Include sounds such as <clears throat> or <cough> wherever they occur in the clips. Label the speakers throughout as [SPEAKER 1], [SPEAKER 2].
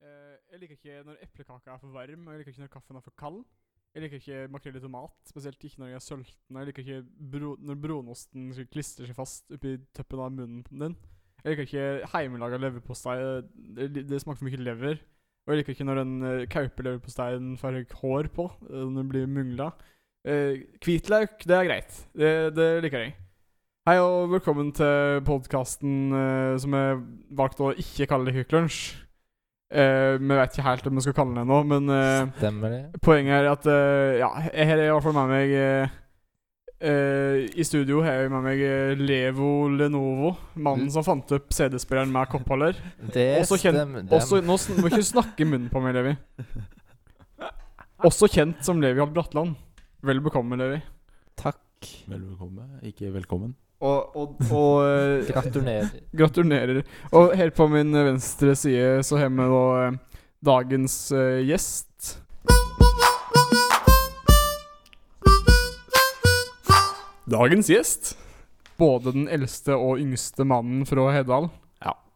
[SPEAKER 1] Eh, Jeg liker ikke når eplekaka er for varm, og jeg liker ikke når kaffen er for kald. Jeg liker ikke makrell i tomat, spesielt ikke når jeg er sulten. og Jeg liker ikke bro når brunosten skal klistre seg fast oppi tuppen av munnen din. Jeg liker ikke heimelaga leverpostei. eh, Det, det smaker for mye lever. Og jeg liker ikke når den uh, kaupeleverposteien får hår på, eh, når den blir mungla. Eh, Hvitløk, det er greit. Det, det liker jeg. Hei og velkommen til podkasten som jeg valgte å ikke kalle Hykklunsj. Eh, Vi vet ikke helt om vi skal kalle den ennå, men eh,
[SPEAKER 2] Stemmer det?
[SPEAKER 1] Poenget er at eh, ja, jeg har i hvert fall med meg eh, eh, I studio har jeg med meg eh, Levo Lenovo, mannen som fant opp CD-spilleren med koppholder.
[SPEAKER 2] Det
[SPEAKER 1] Også kjent-
[SPEAKER 2] stemmer. det-
[SPEAKER 1] Også, nå sn- må ikke snakke i munnen på meg, Levi. Også kjent som Levi Hall Bratland. Vel bekomme, Levi.
[SPEAKER 2] Takk.
[SPEAKER 3] Vel velkommen, ikke velkommen.
[SPEAKER 1] Og, og, og eh,
[SPEAKER 2] Gratulerer.
[SPEAKER 1] Gratulerer. Og her på min venstre side så har vi da eh, dagens eh, gjest. Dagens gjest. Både den eldste og yngste mannen fra Heddal.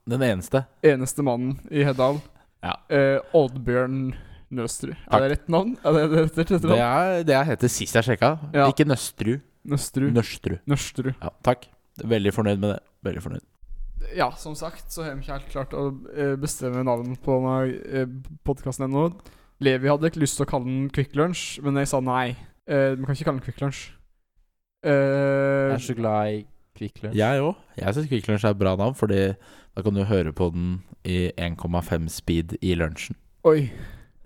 [SPEAKER 3] Den eneste.
[SPEAKER 1] Eneste mannen i Heddal.
[SPEAKER 3] Ja.
[SPEAKER 1] Eh, Oddbjørn Nøstrud.
[SPEAKER 3] Takk.
[SPEAKER 1] Er det rett navn? Er det det- det rette
[SPEAKER 3] Det
[SPEAKER 1] navn?
[SPEAKER 3] er det jeg heter sist jeg sjekka.
[SPEAKER 1] Ja.
[SPEAKER 3] Ikke Nøstrud.
[SPEAKER 1] Nøstrud.
[SPEAKER 3] Nøstrud.
[SPEAKER 1] Nøstrud.
[SPEAKER 3] Ja, takk. Veldig fornøyd med det. Veldig fornøyd.
[SPEAKER 1] Ja, som sagt så har vi ikke helt klart å eh, bestemme navnet på denne podkasten ennå. Levi hadde ikke lyst til å kalle den Quick Lunch, men jeg sa nei. Eh, Vi kan ikke kalle den Quick Lunch. Eh,
[SPEAKER 2] Jeg er så glad i Kvikk Lunsj.
[SPEAKER 3] Jeg òg. Jeg syns Kvikk Lunsj er et bra navn, Fordi da kan du høre på den i 1,5 speed i <laughs> lunsjen.
[SPEAKER 1] Oi.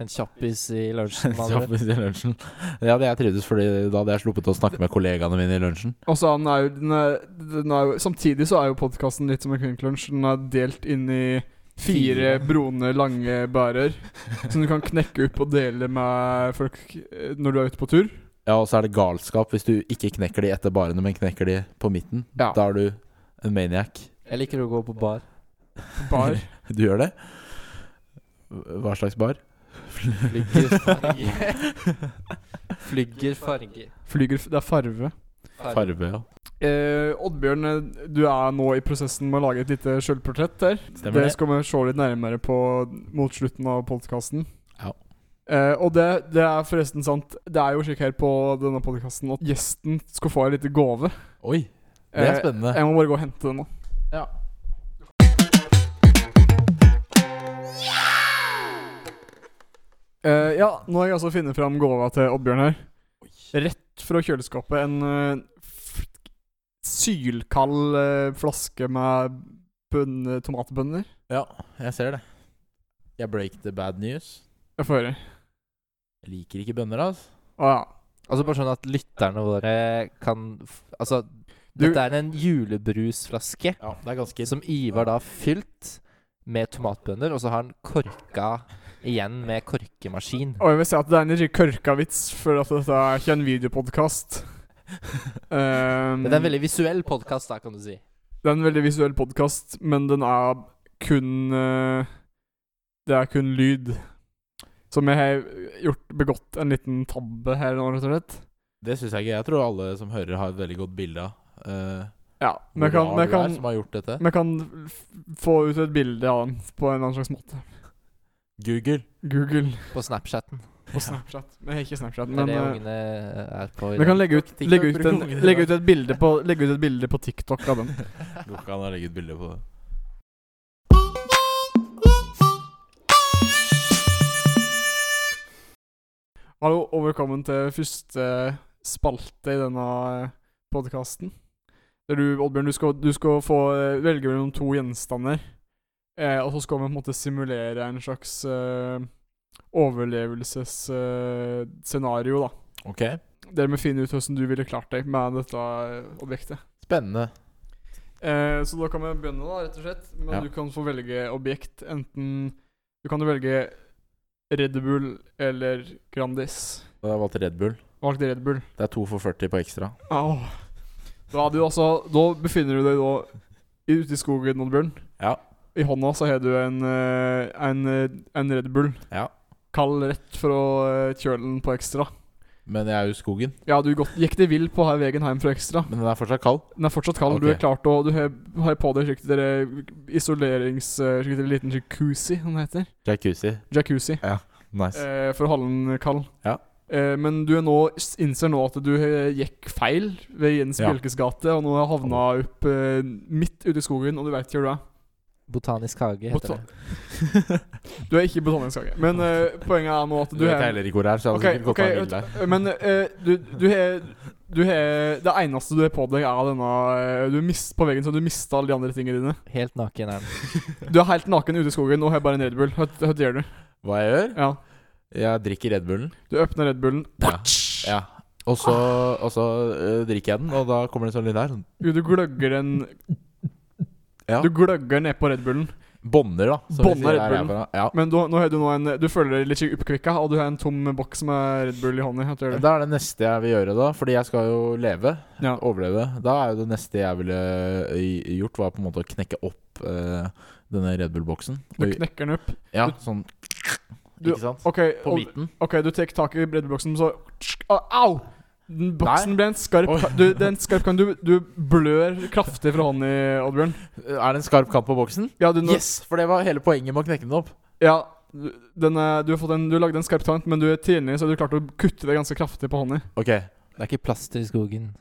[SPEAKER 2] En kjappis i lunsjen. med andre.
[SPEAKER 3] Kjappest i lunsjen. Det hadde jeg trivdes, Fordi da hadde jeg sluppet å snakke med kollegaene mine i lunsjen.
[SPEAKER 1] Og så er den er jo, den er, den er jo Samtidig så er jo podkasten litt som en Quick Lunch. Den er delt inn i fire
[SPEAKER 3] Fire.
[SPEAKER 1] brune, lange
[SPEAKER 2] <laughs>
[SPEAKER 1] bærer som du kan knekke opp og dele med folk eh, når du er ute på tur.
[SPEAKER 3] Ja, og så er det galskap hvis du ikke knekker de etter barene, men knekker de på midten.
[SPEAKER 1] Ja.
[SPEAKER 3] Da er du en maniac.
[SPEAKER 2] Jeg liker å gå på bar.
[SPEAKER 1] Bar.
[SPEAKER 3] Du gjør det? Hva slags bar?
[SPEAKER 2] Flygger
[SPEAKER 1] <laughs>
[SPEAKER 2] farger. Flygger farger.
[SPEAKER 1] Flyger, f- det er farve.
[SPEAKER 2] Farger.
[SPEAKER 3] Farve, ja.
[SPEAKER 1] Eh, Oddbjørn, eh, du er nå i prosessen med å lage et lite sjølportrett der.
[SPEAKER 3] Stemmer
[SPEAKER 1] det
[SPEAKER 3] det.
[SPEAKER 1] skal vi se litt nærmere på mot slutten av podkasten.
[SPEAKER 3] Ja.
[SPEAKER 1] Eh, og det, det er forresten sant. Det er jo slik her på denne podkasten at gjesten skal få en liten gave.
[SPEAKER 3] Oi, det er
[SPEAKER 1] Eh,
[SPEAKER 3] spennende.
[SPEAKER 1] jeg må bare gå og hente den nå.
[SPEAKER 3] Ja.
[SPEAKER 1] Eh, ja, nå har jeg altså funnet fram gåva til Oddbjørn her. Rett fra kjøleskapet. En eh, f- sylkald eh, flaske med bønne, tomatbønner.
[SPEAKER 3] Ja, jeg ser det. Jeg break the bad news.
[SPEAKER 1] Jeg får høre.
[SPEAKER 3] Jeg liker ikke bønner, altså.
[SPEAKER 1] Å ja.
[SPEAKER 2] Altså bare sånn at lytterne våre kan f- Altså,
[SPEAKER 1] Du-
[SPEAKER 2] dette er en julebrusflaske
[SPEAKER 3] Ja, det er ganske
[SPEAKER 2] som Ivar da har fylt med tomatbønner, og så har han korka igjen med korkemaskin.
[SPEAKER 1] <laughs> Og jeg vil si at det er en ikke kørka vits, for at dette er ikke en videopodkast. Um,
[SPEAKER 2] Men det er en veldig visuell podkast, da, kan du si.
[SPEAKER 1] det er en veldig visuell podkast, men den er kun eh, Det er kun lyd. Som jeg har gjort begått en liten tabbe her nå, rett og slett.
[SPEAKER 3] Det syns jeg ikke. Jeg tror alle som hører, har et veldig godt bilde av eh,
[SPEAKER 1] Ja,
[SPEAKER 3] hvor
[SPEAKER 1] men jeg kan,
[SPEAKER 3] rar
[SPEAKER 1] men jeg
[SPEAKER 3] du
[SPEAKER 1] kan,
[SPEAKER 3] er som har gjort dette.
[SPEAKER 1] men jeg kan f- få ut et bilde av den på en eller annen slags måte.
[SPEAKER 3] Google.
[SPEAKER 1] Google
[SPEAKER 2] På Snapchatten.
[SPEAKER 1] og Snapchat. Men jeg har ikke Snapchat.
[SPEAKER 2] Det er
[SPEAKER 1] Men
[SPEAKER 2] det
[SPEAKER 1] eh,
[SPEAKER 2] ungene er på. i
[SPEAKER 1] vi
[SPEAKER 2] dag.
[SPEAKER 1] kan legge ut,
[SPEAKER 3] TikTok
[SPEAKER 1] legge ut,
[SPEAKER 3] bruker
[SPEAKER 1] en,
[SPEAKER 3] ungene i
[SPEAKER 1] legge
[SPEAKER 3] dag.
[SPEAKER 1] ut et bilde på, legge ut et bilde på TikTok av den.
[SPEAKER 3] Går ikke an å legge ut bilde på det.
[SPEAKER 1] Hallo og velkommen til første eh, spalte i denne eh, podkasten. Der du, Oddbjørn, du skal, du skal få eh, velge mellom to gjenstander. Eh, og så skal vi på en måte simulere en slags eh, overlevelsesscenario, da.
[SPEAKER 3] Ok,
[SPEAKER 1] Der vi finner ut hvordan du ville klart deg med dette eh, objektet.
[SPEAKER 3] spennende.
[SPEAKER 1] Eh, så da kan vi begynne, da, rett og slett. Men
[SPEAKER 3] Ja.
[SPEAKER 1] du kan få velge objekt. Enten Du kan jo velge Red Bull eller Grandis.
[SPEAKER 3] Da har jeg valgt Red Bull.
[SPEAKER 1] Valg Red Bull.
[SPEAKER 3] Det er to for 40 på ekstra.
[SPEAKER 1] Au. Da, er du altså, da befinner du deg da i- ute i skogen, Oddbjørn.
[SPEAKER 3] Ja.
[SPEAKER 1] I hånda så har du en, eh, en, eh, en Red Bull.
[SPEAKER 3] Ja.
[SPEAKER 1] Kald rett fra eh, kjølen på ekstra.
[SPEAKER 3] Men jeg er jo i skogen.
[SPEAKER 1] Ja, du gått, gikk deg vill på her veien hjem fra Ekstra.
[SPEAKER 3] Men den er fortsatt kald.
[SPEAKER 1] Den er fortsatt kald. Du
[SPEAKER 3] Ok.
[SPEAKER 1] er klart å Du har, har på deg slik dere isolerings... eh, Slik dere liten jacuzzi, som det heter.
[SPEAKER 3] Jacuzzi.
[SPEAKER 1] Jacuzzi.
[SPEAKER 3] Nice.
[SPEAKER 1] eh, for å holde den kald.
[SPEAKER 3] Ja.
[SPEAKER 1] Eh, men du er nå, s- innser nå at du eh, gikk feil ved Jens
[SPEAKER 3] Ja.
[SPEAKER 1] Bjelkes gate, og nå har havna opp eh, midt ute i skogen, og du veit hvor du er.
[SPEAKER 2] <laughs> Botanisk hage heter
[SPEAKER 1] Bota- Du er ikke i Botanisk hage, men eh, poenget er nå at
[SPEAKER 3] Du
[SPEAKER 1] du
[SPEAKER 3] vet
[SPEAKER 1] er
[SPEAKER 3] heller ikke hvor det er, så jeg hadde
[SPEAKER 1] Ok,
[SPEAKER 3] sikkert gått
[SPEAKER 1] ok,
[SPEAKER 3] av en bil der.
[SPEAKER 1] vet- Men eh, du, du har du har Det eneste du har på deg, er denne eh, Du er mist, på veggen, så du mista alle de andre tingene dine.
[SPEAKER 2] det. Helt naken er den.
[SPEAKER 1] Du er helt naken ute i skogen og har bare en Red Bull. Hva, hva gjør du?
[SPEAKER 3] Hva jeg gjør?
[SPEAKER 1] Ja.
[SPEAKER 3] Jeg drikker Red Bullen.
[SPEAKER 1] Du åpner Red Bullen.
[SPEAKER 3] Ja. ja. Og så, og så øh, drikker jeg den, og da kommer det en sånn lyd her. Sånn.
[SPEAKER 1] Du du gløgger den
[SPEAKER 3] Ja.
[SPEAKER 1] Du gløgger ned på Red Bullen.
[SPEAKER 3] Bånder, da. som vi
[SPEAKER 1] Bånder
[SPEAKER 3] sier
[SPEAKER 1] Red
[SPEAKER 3] her jeg
[SPEAKER 1] Bullen.
[SPEAKER 3] fra. Ja.
[SPEAKER 1] Men du, nå har du nå en Du føler deg litt oppkvikka, og du har en tom boks med Red Bull i hånda. Jeg tror det.
[SPEAKER 3] Da er det neste jeg vil gjøre, da. Fordi jeg skal jo leve.
[SPEAKER 1] Ja.
[SPEAKER 3] Overleve. Da er jo det neste jeg ville ø, gjort, var på en måte å knekke opp ø, denne Red Bull-boksen.
[SPEAKER 1] Du
[SPEAKER 3] Og-
[SPEAKER 1] knekker den opp.
[SPEAKER 3] Ja, sånn
[SPEAKER 1] Du-
[SPEAKER 3] Ikke sant?
[SPEAKER 1] OK,
[SPEAKER 3] På
[SPEAKER 1] og,
[SPEAKER 3] midten.
[SPEAKER 1] ok, du tar tak i Red Bull-boksen, så Au! au! Den boksen ble en skarp
[SPEAKER 3] Oi.
[SPEAKER 1] ka- Du, det er en skarp kan du, du blør kraftig fra hånda, Oddbjørn.
[SPEAKER 3] Er det en skarp kant på boksen?
[SPEAKER 1] Ja, du, nå-
[SPEAKER 3] Yes! For det var hele poenget med å knekke den opp.
[SPEAKER 1] ja du- den er, du, har fått en, du lagde en skarp tant, men du er tidlig, så du klarte å kutte det ganske kraftig på hånda.
[SPEAKER 3] Ok.
[SPEAKER 2] Det er ikke plaster
[SPEAKER 1] <laughs>
[SPEAKER 2] i skogen.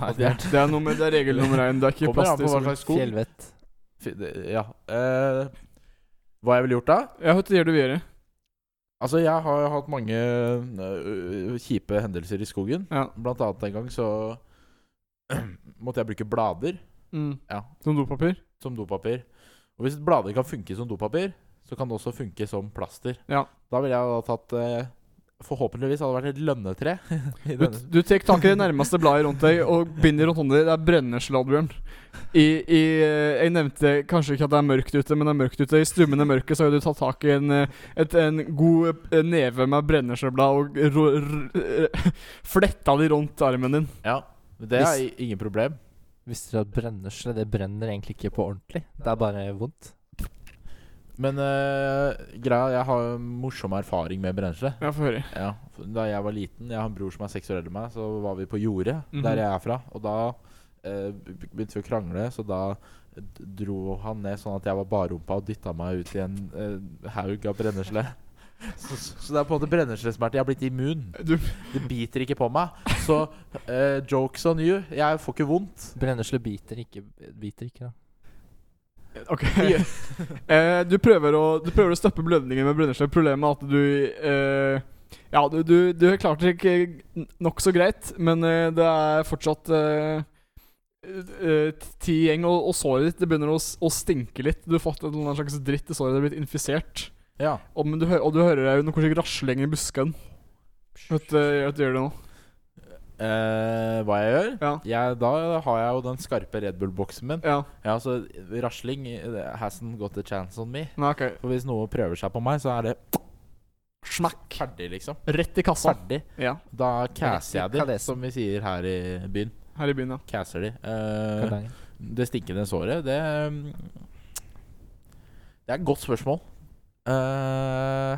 [SPEAKER 3] Nei, det er
[SPEAKER 1] Det er, noe med, det er regel nummer én. Det er ikke
[SPEAKER 3] Kommer
[SPEAKER 1] plass
[SPEAKER 3] an
[SPEAKER 1] til
[SPEAKER 3] på hva
[SPEAKER 1] solen.
[SPEAKER 3] slags sko.
[SPEAKER 2] Fjellvett.
[SPEAKER 3] Fi- det- Ja. Eh, hva jeg ville gjort da?
[SPEAKER 1] Ja, hva gjør du videre?
[SPEAKER 3] Altså, jeg har jo hatt mange ø, ø, kjipe hendelser i skogen.
[SPEAKER 1] Ja.
[SPEAKER 3] Blant annet en gang så <clears throat> måtte jeg bruke blader
[SPEAKER 1] Mm.
[SPEAKER 3] Ja.
[SPEAKER 1] Som dopapir?
[SPEAKER 3] som dopapir. Og hvis blader kan funke som dopapir, så kan det også funke som plaster.
[SPEAKER 1] Ja.
[SPEAKER 3] Da ville jeg da tatt eh, Forhåpentligvis hadde det vært et lønnetre. <laughs> I
[SPEAKER 1] Du,
[SPEAKER 3] denne-
[SPEAKER 1] du tar tak i det nærmeste bladet rundt deg og binder rundt hånda. di. Det er brennesle, Oddbjørn. I, i, eh, jeg nevnte kanskje ikke at det er mørkt ute, men det er mørkt ute. I stummende mørke så har du tatt tak i en, eh, et, en god eh, neve med brennesleblad og ro- r- r- fletta de rundt armen din.
[SPEAKER 3] Ja, men det er
[SPEAKER 2] Hvis-
[SPEAKER 3] i- ingen problem.
[SPEAKER 2] Visste dere at brennesle det brenner egentlig ikke på ordentlig? Det er bare vondt.
[SPEAKER 3] Men eh, greia, jeg har jo morsom erfaring med brennesle.
[SPEAKER 1] Ja, få høre.
[SPEAKER 3] Ja, for da jeg var liten, jeg har en bror som er seks år eldre enn meg, så var vi på jordet,
[SPEAKER 1] Mhm.
[SPEAKER 3] der jeg er fra. Og da eh, be- begynte vi å krangle, så da d- dro han ned sånn at jeg var barrumpa og dytta meg ut i en eh, haug av brennesle. <laughs> Så, så det er på en måte brenneslesmerter. Jeg har blitt immun.
[SPEAKER 1] Du,
[SPEAKER 3] Det biter ikke på meg. Så eh, jokes on you. Jeg får ikke vondt.
[SPEAKER 2] Brennesle biter ikke, biter ikke da.
[SPEAKER 1] ok. <laughs> Eh, du, prøver å, du prøver å stoppe blødningen med brennesle. Problemet er at du eh, Ja, du, du, du har klart det ikke nokså greit, men eh, det er fortsatt eh, eh, ti gjeng, og, og såret ditt det begynner å, s- å stinke litt. Du har fått en eller annen slags dritt i såret. Det er blitt infisert.
[SPEAKER 3] Ja.
[SPEAKER 1] Og, men du, hø- og du hører jo noe slik rasling i buskene. Vet du hva du gjør det nå?
[SPEAKER 3] Eh, hva jeg gjør?
[SPEAKER 1] Ja.
[SPEAKER 3] Jeg, da har jeg jo den skarpe Red Bull-boksen min.
[SPEAKER 1] Ja.
[SPEAKER 3] Ja, så rasling eh, hasn't got a chance on me.
[SPEAKER 1] Nei, OK.
[SPEAKER 3] For hvis noe prøver seg på meg, så er det
[SPEAKER 1] Smakk.
[SPEAKER 3] ferdig, liksom.
[SPEAKER 1] Rett i kassa.
[SPEAKER 3] Ferdig.
[SPEAKER 1] Ja.
[SPEAKER 3] Da casser jeg de,
[SPEAKER 2] Kalesen.
[SPEAKER 3] som vi sier her i byen.
[SPEAKER 1] Her i byen, ja.
[SPEAKER 3] Casser de. Eh,
[SPEAKER 2] Kardangen.
[SPEAKER 3] det stinkende såret, det mm, Det er et godt spørsmål. Uh,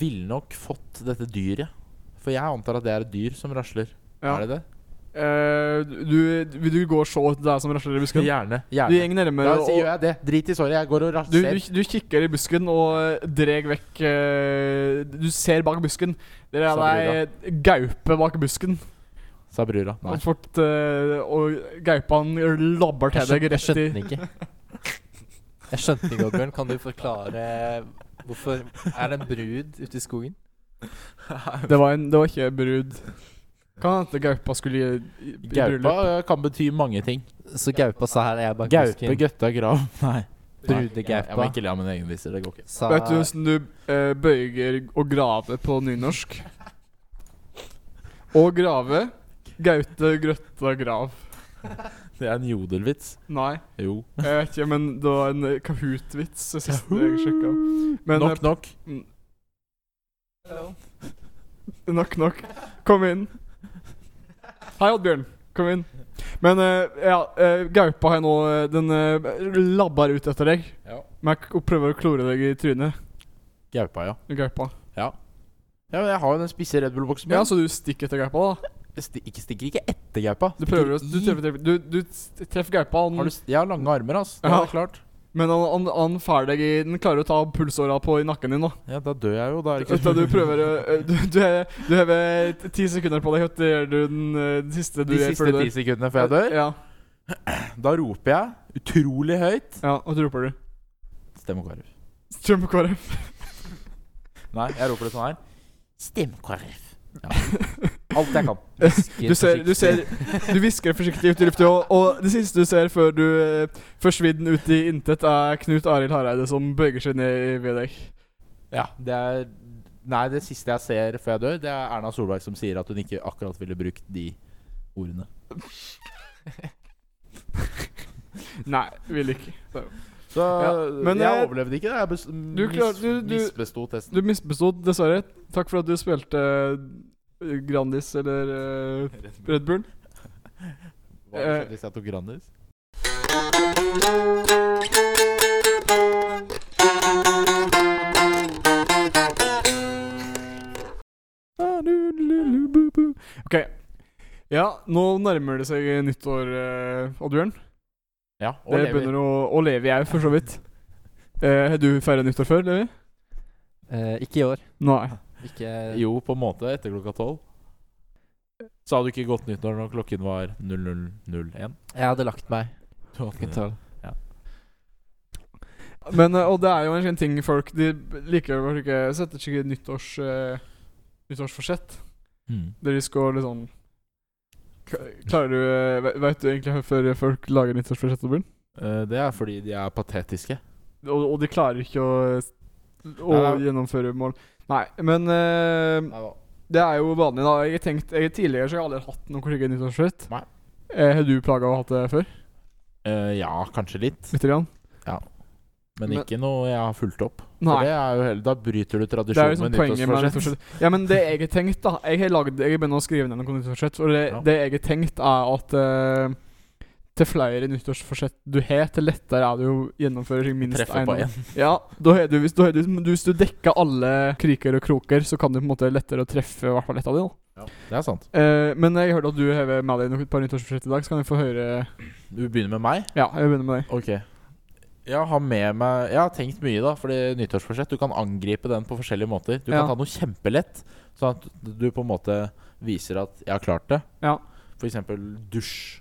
[SPEAKER 3] Ville nok fått dette dyret. For jeg antar at det er et dyr som rasler.
[SPEAKER 1] ja.
[SPEAKER 3] Er det det?
[SPEAKER 1] Eh, du, vil du gå og se etter deg som rasler i busken?
[SPEAKER 3] Gjerne.
[SPEAKER 1] Du
[SPEAKER 3] gjerne.
[SPEAKER 1] gjeng
[SPEAKER 3] Da
[SPEAKER 1] nærmere
[SPEAKER 3] sier
[SPEAKER 1] og
[SPEAKER 3] jeg det. Drit i såret. Jeg går og
[SPEAKER 1] du,
[SPEAKER 3] raser.
[SPEAKER 1] du, du kikker i busken og dreg vekk eh, Du ser bak busken. Det er ei gaupe bak busken.
[SPEAKER 3] Sa brura. Nei.
[SPEAKER 1] Og, fort, eh, og gaupaen labber
[SPEAKER 2] Jeg
[SPEAKER 1] til deg
[SPEAKER 2] skjønte, jeg
[SPEAKER 1] rett i
[SPEAKER 2] skjønte den ikke. Jeg skjønte den ikke, Oddbjørn. Kan du forklare hvorfor er det en brud ute i skogen?
[SPEAKER 1] Det var, en, det var ikke brud. Kan hende gaupa skulle i, i, i
[SPEAKER 3] Gaupa
[SPEAKER 1] bryllup.
[SPEAKER 3] eh, kan bety mange ting.
[SPEAKER 2] Så gaupa sa her er jeg bak
[SPEAKER 3] Gaupe,
[SPEAKER 2] busken.
[SPEAKER 3] gøtta,
[SPEAKER 1] <laughs>
[SPEAKER 3] grav. Nei. Jeg må
[SPEAKER 2] Brudegaupa
[SPEAKER 3] ikke le av mine egne vitser. Det går ikke.
[SPEAKER 2] sa
[SPEAKER 1] Vet du hvordan du eh, bøyger og graver på nynorsk? Å grave. Gaute, grøtta, grav.
[SPEAKER 3] Det er en jodelvits.
[SPEAKER 1] Nei.
[SPEAKER 3] Jo.
[SPEAKER 1] Jeg vet ikke, men det var en eh, Kahoot-vits eh, sist jeg sjekka. Men
[SPEAKER 3] nok, nok.
[SPEAKER 1] eh, nok, nok. Kom inn. Hei, Oddbjørn. Kom inn. Men eh, ja, eh, gaupa her nå, eh, den eh, labber ut etter deg.
[SPEAKER 3] Ja.
[SPEAKER 1] Men jeg k- prøver å klore deg i trynet.
[SPEAKER 3] Gaupa, ja.
[SPEAKER 1] Gaupa.
[SPEAKER 3] Ja, men jeg har jo den spisse Red Bull-boksen min.
[SPEAKER 1] Ja, altså- så du stikker etter gaupa, da?
[SPEAKER 3] Jeg sti- ikke stikker ikke etter gaupa.
[SPEAKER 1] Du prøver å
[SPEAKER 3] Stikker
[SPEAKER 1] Du
[SPEAKER 3] i.
[SPEAKER 1] treffer, du, du s- treffer gaupa,
[SPEAKER 3] Har
[SPEAKER 1] han,
[SPEAKER 3] du s- Jeg har lange armer, ass. Det
[SPEAKER 1] Ja.
[SPEAKER 3] er klart.
[SPEAKER 1] men han, han, han fær deg i Den klarer å ta pulsåra på i nakken din, da.
[SPEAKER 3] Ja, da dør jeg jo. Da er det
[SPEAKER 1] Etter
[SPEAKER 3] ikke
[SPEAKER 1] at du prøver å eh, Du, du, er- du har vel ti sekunder på deg, og det gjør du den, eh, den siste du
[SPEAKER 3] De
[SPEAKER 1] gjør før
[SPEAKER 3] siste
[SPEAKER 1] du
[SPEAKER 3] ti
[SPEAKER 1] dør.
[SPEAKER 3] sekundene før jeg dør,
[SPEAKER 1] Ja,
[SPEAKER 3] da roper jeg utrolig høyt
[SPEAKER 1] ja, og så roper du.
[SPEAKER 3] Stemmekorv.
[SPEAKER 1] Trump og KrF.
[SPEAKER 3] Nei, jeg roper det sånn her. Stemmekorv. Ja. Alt jeg kan.
[SPEAKER 2] Hvisker
[SPEAKER 1] Du ser, du
[SPEAKER 2] forsiktig.
[SPEAKER 1] ser Du hvisker forsiktig ut i lufta, og, og det siste du ser før du eh, forsvinner ut i intet, er Knut Arild Hareide som bøyer seg ned ved deg.
[SPEAKER 3] Ja, det er Nei, det siste jeg ser før jeg dør, det er Erna Solberg som sier at hun ikke akkurat ville brukt de ordene.
[SPEAKER 1] Nei, vil ikke. Så.
[SPEAKER 3] Så
[SPEAKER 1] Ja, men
[SPEAKER 3] jeg
[SPEAKER 1] jeg-
[SPEAKER 3] overlevde ikke det. Jeg bes
[SPEAKER 1] Du klar- du- du-
[SPEAKER 3] misbesto testen. <laughs>
[SPEAKER 1] Du misbestod, dessverre. Takk for at du spilte eh, Grandis eller eh, Red Bull.
[SPEAKER 3] Hva hadde skjedd hvis jeg tok Grandis?
[SPEAKER 1] Ah, OK. Ja, nå nærmer det seg nyttår, eh, Oddbjørn.
[SPEAKER 3] Ja, og
[SPEAKER 1] Det
[SPEAKER 3] lever.
[SPEAKER 1] begynner å, å leve jeg, for så vidt. Eh, Har du feira nyttår før, Levi?
[SPEAKER 2] Eh, Ikke i år.
[SPEAKER 1] Nei.
[SPEAKER 2] Ikke
[SPEAKER 3] Jo, på en måte. Etter klokka tolv. Sa du ikke godt nyttår når klokken var 0001?
[SPEAKER 2] Jeg hadde lagt meg klokken
[SPEAKER 3] Ja,
[SPEAKER 2] tolv.
[SPEAKER 1] Men, eh, og det er jo en sånn ting folk De liker å ikke sette seg i nyttårs, eh, nyttårsforsett.
[SPEAKER 3] Mm.
[SPEAKER 1] Der de skal liksom K- Klarer du eh, ve- Vet du egentlig hvorfor folk lager nyttårsforsett? Torbjørn?
[SPEAKER 3] Eh, Det er fordi de er patetiske.
[SPEAKER 1] Og, og de klarer ikke å, å
[SPEAKER 3] Nei, nei.
[SPEAKER 1] gjennomføre mål. Nei, men eh, Det er jo vanlig, da. Jeg har tenkt, jeg har tidligere så har jeg aldri hatt noe slikt nyttårsforsett.
[SPEAKER 3] Nei.
[SPEAKER 1] Eh, Har du plaga å ha hatt det før?
[SPEAKER 3] Eh, ja, kanskje litt,
[SPEAKER 1] Lite grann?
[SPEAKER 3] men,
[SPEAKER 1] Men-
[SPEAKER 3] ikke noe jeg har fulgt opp.
[SPEAKER 1] Nei.
[SPEAKER 3] For det er jo heller, Da bryter
[SPEAKER 1] Det er
[SPEAKER 3] du
[SPEAKER 1] jo
[SPEAKER 3] tradisjonen
[SPEAKER 1] liksom
[SPEAKER 3] med
[SPEAKER 1] poenget med
[SPEAKER 3] nyttårsforsett.
[SPEAKER 1] nyttårsforsett. Ja, men det jeg har tenkt, da Jeg har lagd, jeg har begynt å skrive ned noen nyttårsforsett, og det,
[SPEAKER 3] Ja.
[SPEAKER 1] det jeg har tenkt, er at eh, til flere nyttårsforsett du har, til lettere er det jo å gjennomføre seg minst
[SPEAKER 3] Treffer
[SPEAKER 1] én.
[SPEAKER 3] på én.
[SPEAKER 1] Ja, da har du, hvis, da har du, du, hvis du dekker alle kriker og kroker, så kan du på en måte lettere å treffe i hvert fall ett av dem. da.
[SPEAKER 3] Det er sant.
[SPEAKER 1] Eh, men jeg hørte at du har med deg noe- et par nyttårsforsett i dag, så kan vi få høre
[SPEAKER 3] Du begynner med meg.
[SPEAKER 1] Ja, jeg begynner med deg.
[SPEAKER 3] Ok. Jeg har med meg Jeg har tenkt mye, da. Fordi nyttårsforsett, du kan angripe den på forskjellige måter. Du
[SPEAKER 1] Ja.
[SPEAKER 3] kan ta noe kjempelett, sånn at du på en måte viser at 'jeg har klart det'.
[SPEAKER 1] Ja.
[SPEAKER 3] For eksempel dusj.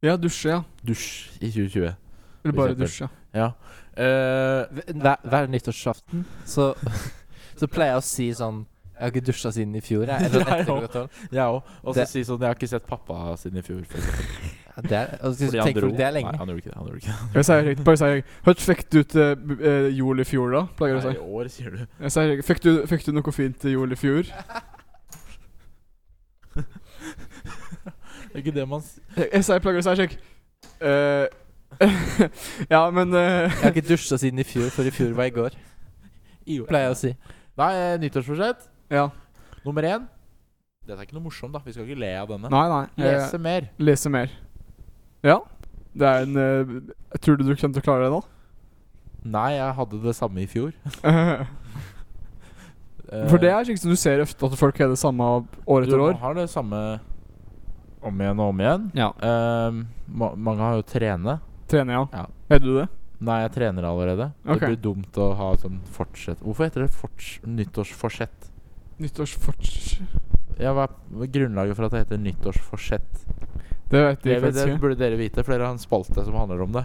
[SPEAKER 1] Ja, dusje, ja.
[SPEAKER 3] Dusj i 2020.
[SPEAKER 1] Eller
[SPEAKER 3] For
[SPEAKER 1] bare
[SPEAKER 3] eksempel.
[SPEAKER 1] dusje.
[SPEAKER 3] Ja. Eh,
[SPEAKER 2] Hver, hver nyttårsaften så, <laughs> så pleier jeg å si sånn Jeg har ikke dusja siden i fjor. Jeg,
[SPEAKER 1] <laughs>
[SPEAKER 2] eller
[SPEAKER 3] Nei,
[SPEAKER 2] etter
[SPEAKER 3] jo.
[SPEAKER 2] klokka tolv.
[SPEAKER 3] jeg òg. Og så
[SPEAKER 2] Det-
[SPEAKER 3] si sånn 'Jeg har ikke sett pappa siden i fjor'. For eksempel.
[SPEAKER 2] Ja, det er, altså,
[SPEAKER 3] Fordi
[SPEAKER 2] tenk
[SPEAKER 3] dro.
[SPEAKER 2] folk, det er lenge.
[SPEAKER 3] Nei, han gjorde ikke det. Han gjorde ikke det.
[SPEAKER 1] Jeg sier riktig, bare sier Hørt fikk du til b- eh, jul i fjor, da? Pleier jeg å si.
[SPEAKER 3] Nei, I år, sier du.
[SPEAKER 1] Jeg sier ikke fikk du, fikk du noe fint til jul i fjor?
[SPEAKER 3] <laughs> Det er ikke det man s-
[SPEAKER 1] Jeg, jeg sier plager å si sjekk. Eh, <laughs> ja, men eh,
[SPEAKER 2] Jeg har ikke dusja siden i fjor, for i fjor var i går.
[SPEAKER 3] i år.
[SPEAKER 2] Pleier jeg å si.
[SPEAKER 3] Nei, eh, nyttårsforsett
[SPEAKER 1] Ja.
[SPEAKER 3] nummer én. Dette er ikke noe morsomt, da. Vi skal ikke le av denne.
[SPEAKER 1] Nei, Eh, nei.
[SPEAKER 3] Lese
[SPEAKER 1] Jeg,
[SPEAKER 3] mer.
[SPEAKER 1] lese mer. Ja. Det er en eh, jeg Tror du du kommer til å klare det nå? <laughs>
[SPEAKER 3] Nei, jeg hadde det samme i fjor.
[SPEAKER 1] Eh,
[SPEAKER 3] Eh,
[SPEAKER 1] For det er slik som du ser ofte at folk har det samme år etter
[SPEAKER 3] du
[SPEAKER 1] år.
[SPEAKER 3] har det samme om igjen og om igjen.
[SPEAKER 1] Ja.
[SPEAKER 3] Eh, ma mange har jo trene.
[SPEAKER 1] Trener, ja.
[SPEAKER 3] Ja.
[SPEAKER 1] Har du det?
[SPEAKER 3] Nei, jeg trener allerede.
[SPEAKER 1] Ok.
[SPEAKER 3] Det blir dumt å ha sånn fortsett Hvorfor heter det forts nyttårsforsett?
[SPEAKER 1] Nyttårsforts...
[SPEAKER 3] Ja, hva er hva er grunnlaget for at det heter nyttårsforsett?
[SPEAKER 1] Det vet
[SPEAKER 3] Det,
[SPEAKER 1] jeg
[SPEAKER 3] det,
[SPEAKER 1] faktisk ikke.
[SPEAKER 3] burde dere vite, for dere har en spalte som handler om det.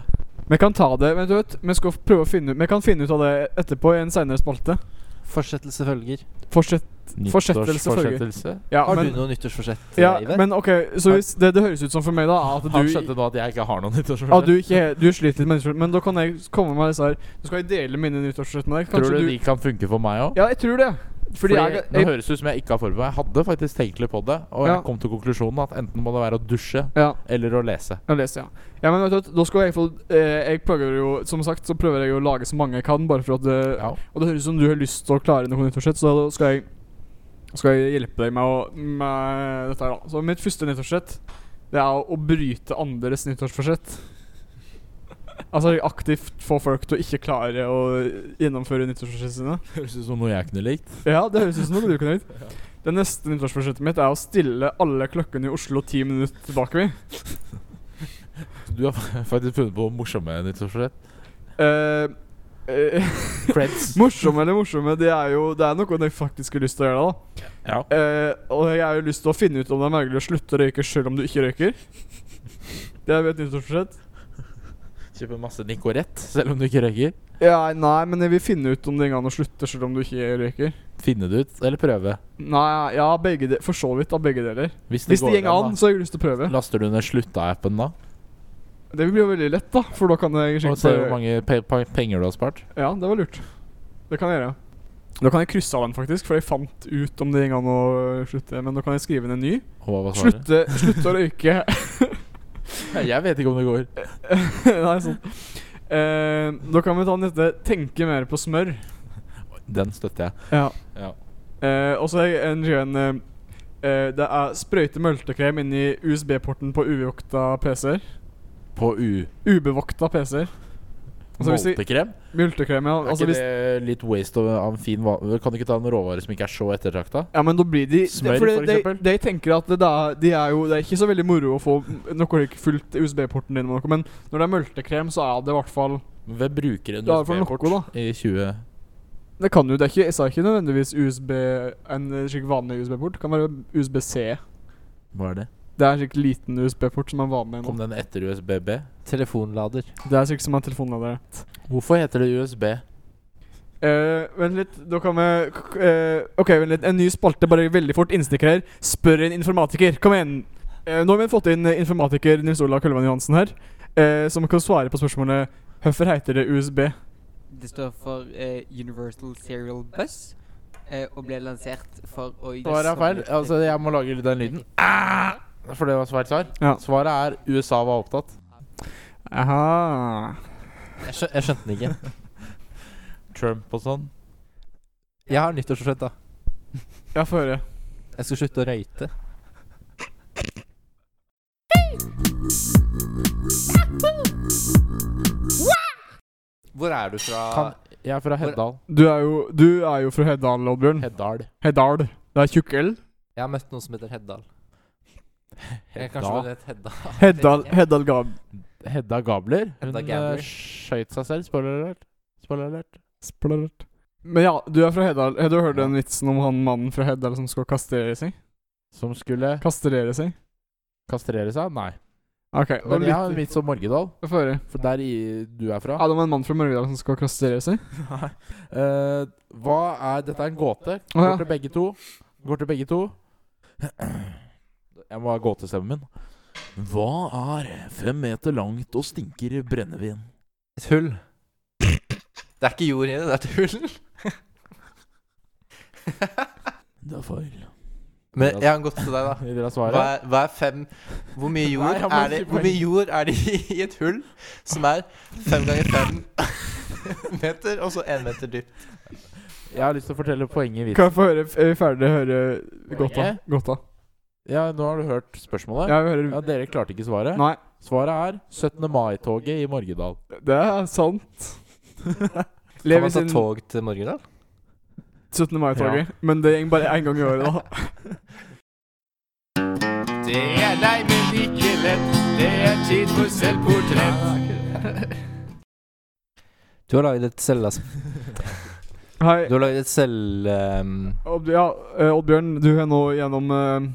[SPEAKER 1] Vi kan ta det, men du vet, vi skal prøve å finne ut Vi kan finne ut av det etterpå i en seinere spalte.
[SPEAKER 2] Fortsettelse følger.
[SPEAKER 1] Fortsett. Fortsettelse følger.
[SPEAKER 3] Nyttårsfortsettelse.
[SPEAKER 1] Ja,
[SPEAKER 2] Har
[SPEAKER 1] men,
[SPEAKER 2] du noe nyttårsforsett,
[SPEAKER 1] ja,
[SPEAKER 2] Iver?
[SPEAKER 1] men OK, så hvis det det høres ut som for meg, da, er at
[SPEAKER 3] Han
[SPEAKER 1] du
[SPEAKER 3] skjønte nå at jeg ikke har noen nyttårsforsett.
[SPEAKER 1] Ja, du, ikke, du sliter litt med nyttårsforsett, men da kan jeg komme med disse her. Du skal jeg dele mine nyttårsforsett med deg.
[SPEAKER 3] Tror du,
[SPEAKER 1] Kanskje du,
[SPEAKER 3] de kan funke for meg òg?
[SPEAKER 1] Ja, jeg tror det. Fordi,
[SPEAKER 3] Fordi
[SPEAKER 1] jeg,
[SPEAKER 3] Nå
[SPEAKER 1] jeg,
[SPEAKER 3] høres det ut som jeg ikke har forberedt meg. Jeg hadde faktisk tenkt litt på det, og
[SPEAKER 1] Ja.
[SPEAKER 3] jeg kom til konklusjonen at enten må det være å dusje
[SPEAKER 1] Ja,
[SPEAKER 3] eller å lese.
[SPEAKER 1] jeg leser, ja. ja men vet du, hva, da skal jeg få eh, Jeg prøver jo, som sagt, så prøver jeg å lage så mange jeg kan, bare for at eh, det
[SPEAKER 3] Ja.
[SPEAKER 1] Og det høres ut som du har lyst til å klare noe nyttårsforsett, så da skal jeg skal jeg hjelpe deg med, å, med dette her, da. Så mitt første nyttårsforsett, det er å bryte andres nyttårsforsett. Altså aktivt få folk til å ikke klare å gjennomføre nyttårsforsettene sine.
[SPEAKER 3] Høres ut som noe jeg kunne likt.
[SPEAKER 1] Ja, det høres ut som noe du kunne gjort. Det neste nyttårsforsettet mitt er å stille alle klokkene i Oslo ti minutter bakover.
[SPEAKER 3] Du har <laughs> faktisk funnet på morsomme nyttårsforsett.
[SPEAKER 1] Uh,
[SPEAKER 3] Creds.
[SPEAKER 1] <laughs> morsomme eller morsomme, det er jo det er noe jeg faktisk har lyst til å gjøre. da
[SPEAKER 3] Ja.
[SPEAKER 1] Eh, og jeg har jo lyst til å finne ut om det er mulig å slutte å røyke selv om du ikke røyker. Det er jo et nyttårsforsett.
[SPEAKER 3] Kjøpe masse Nicorette selv om du ikke røyker.
[SPEAKER 1] Ja, nei, men jeg vil finne ut om det går an å slutte selv om du ikke røyker.
[SPEAKER 3] Finne det ut, eller prøve.
[SPEAKER 1] Nei, ja, begge de for så vidt av begge deler. Hvis
[SPEAKER 3] går
[SPEAKER 1] det går an,
[SPEAKER 3] da.
[SPEAKER 1] så har jeg lyst til å prøve.
[SPEAKER 3] Laster du ned slutta-appen da?
[SPEAKER 1] Det blir jo veldig lett, da, for da kan jeg
[SPEAKER 3] Og
[SPEAKER 1] sjekke
[SPEAKER 3] ser hvor
[SPEAKER 1] på-
[SPEAKER 3] mange pe pa- penger du har spart?
[SPEAKER 1] Ja, det var lurt. Det kan jeg gjøre. Da kan jeg krysse av den, faktisk, for jeg fant ut om det gikk an å slutte. Men da kan jeg skrive inn en ny.
[SPEAKER 3] Og hva var svaret?
[SPEAKER 1] Slutte, slutte å røyke. <laughs>
[SPEAKER 3] Jeg vet ikke om det går.
[SPEAKER 1] Nei, sånn. Eh, da kan vi ta neste. Tenke mer på smør.
[SPEAKER 3] Den støtter jeg.
[SPEAKER 1] Ja.
[SPEAKER 3] Ja.
[SPEAKER 1] Eh, og så er en skjønn eh, eh, Det er sprøyte multekrem inn i USB-porten på uvokta PC-er.
[SPEAKER 3] På U.
[SPEAKER 1] Ubevokta PC-er. Altså, hvis vi-
[SPEAKER 3] Moltekrem?
[SPEAKER 1] Multekrem, ja.
[SPEAKER 3] Er
[SPEAKER 1] Altså,
[SPEAKER 3] ikke
[SPEAKER 1] hvis,
[SPEAKER 3] det litt waste av av en fin va- Kan du ikke ta en råvare som ikke er så ettertrakta?
[SPEAKER 1] ja, men da blir de for
[SPEAKER 3] Smør, for
[SPEAKER 1] det, de,
[SPEAKER 3] eksempel.
[SPEAKER 1] de tenker at det, da, de er jo, det er ikke så veldig moro å få noe like fullt i USB-porten din, med noe, men når det er multekrem, så er det i hvert fall
[SPEAKER 3] Hvem bruker en
[SPEAKER 1] Det er i hvert fall
[SPEAKER 3] USB-port
[SPEAKER 1] noe, da.
[SPEAKER 3] i 20
[SPEAKER 1] Det kan jo, det er ikke, jeg sa ikke nødvendigvis USB en eh, slik vanlig USB-port. Det kan være USB-C.
[SPEAKER 3] Hva er det?
[SPEAKER 1] Det er en slik liten USB-port som er vanlig nå.
[SPEAKER 3] Kom den etter USBB?
[SPEAKER 2] Telefonlader.
[SPEAKER 1] Det er slik som en telefonlader.
[SPEAKER 3] Hvorfor heter det USB?
[SPEAKER 1] Eh, vent litt, da kan vi k- eh, Ok, vent litt. En ny spalte, bare veldig fort. Innstikk her. Spør en informatiker. Kom igjen. Eh, nå har vi fått inn eh, informatiker Nils Olav Kølvan Johansen her, eh, som kan svare på spørsmålet Hvorfor heter det USB?
[SPEAKER 4] Det står for eh, Universal Serial Bus, eh, og ble lansert for å
[SPEAKER 3] Svaret er feil. Altså, jeg må lage den lyden. Ah! For det var svært svar.
[SPEAKER 1] Ja.
[SPEAKER 3] Svaret er USA var opptatt.
[SPEAKER 1] Aha.
[SPEAKER 2] Jeg, skjø jeg skjønte den ikke.
[SPEAKER 3] Trump og sånn.
[SPEAKER 2] Jeg har nyttårsforsett, da.
[SPEAKER 1] Ja, få høre.
[SPEAKER 2] Jeg skal slutte å røyte. Hvor er du fra?
[SPEAKER 3] Kan, jeg er fra Heddal.
[SPEAKER 1] Du er jo, du er jo fra Heddal, Oddbjørn.
[SPEAKER 3] Heddal.
[SPEAKER 1] Heddal. Det er tjukk L.
[SPEAKER 2] Jeg har møtt noen som heter Heddal. Jeg Eh, kanskje
[SPEAKER 3] Hedda,
[SPEAKER 2] burde hett Hedda.
[SPEAKER 1] Heddal, Heddal Gab.
[SPEAKER 3] Hedda Gabler. Hun
[SPEAKER 2] Hedda Gabler.
[SPEAKER 3] eh, skjøt seg selv. Spoiler alert. Spoiler alert.
[SPEAKER 1] Splurt. Men ja, du er fra Heddal. Har du hørt
[SPEAKER 3] Ja.
[SPEAKER 1] den vitsen om han mannen fra Heddal som skal kastrere seg?
[SPEAKER 3] Som skulle
[SPEAKER 1] Kastrere seg?
[SPEAKER 3] kastrere seg? Nei.
[SPEAKER 1] OK.
[SPEAKER 3] Men jeg har en
[SPEAKER 1] litt-
[SPEAKER 3] vits om Morgedal,
[SPEAKER 1] Få høre.
[SPEAKER 3] for der i, du er fra.
[SPEAKER 1] Er det om en mann fra Mørgedal som skal kastrere seg?
[SPEAKER 3] Nei. Eh, hva er Dette er en gåte.
[SPEAKER 1] Å, ja.
[SPEAKER 3] Går til begge to. Går til begge to. Jeg må ha gåtestemmen min. Hva er fem meter langt og stinker brennevin?
[SPEAKER 2] <laughs> Et hull. Det er ikke jord i det, det er et hull. <laughs>
[SPEAKER 3] Det er feil.
[SPEAKER 2] Men jeg har gått til deg, da.
[SPEAKER 3] Vil dere ha
[SPEAKER 2] Hva
[SPEAKER 3] svaret?
[SPEAKER 2] er, hva er fem Hvor mye jord
[SPEAKER 3] Nei, han må
[SPEAKER 2] er det
[SPEAKER 3] si
[SPEAKER 2] Hvor mye jord er det i, i et hull som er fem ganger fem <laughs> meter, og så én meter dypt?
[SPEAKER 3] Jeg har lyst til å fortelle poenget i vitsen.
[SPEAKER 1] Kan jeg få høre er vi ferdig å høre gåta?
[SPEAKER 3] Poenget?
[SPEAKER 1] Gåta.
[SPEAKER 3] Ja, nå har du hørt spørsmålet.
[SPEAKER 1] Ja, vi hører
[SPEAKER 3] Ja, Dere klarte ikke svaret.
[SPEAKER 1] Nei,
[SPEAKER 3] Svaret er 17. mai-toget i Morgedal.
[SPEAKER 1] det er sant.
[SPEAKER 2] Kan
[SPEAKER 1] Lev i
[SPEAKER 2] man ta
[SPEAKER 1] sin
[SPEAKER 2] tog til Morgedal?
[SPEAKER 1] 17. mai-toget. Men det går bare én gang i året, da.
[SPEAKER 5] <laughs> Det er lei, men ikke lett. Det er tid for selvportrett.
[SPEAKER 2] Du har laget et selv...
[SPEAKER 1] Hei.
[SPEAKER 2] Du har laget et selv...
[SPEAKER 1] Odd, ja, eh, Oddbjørn, du har nå gjennom uh,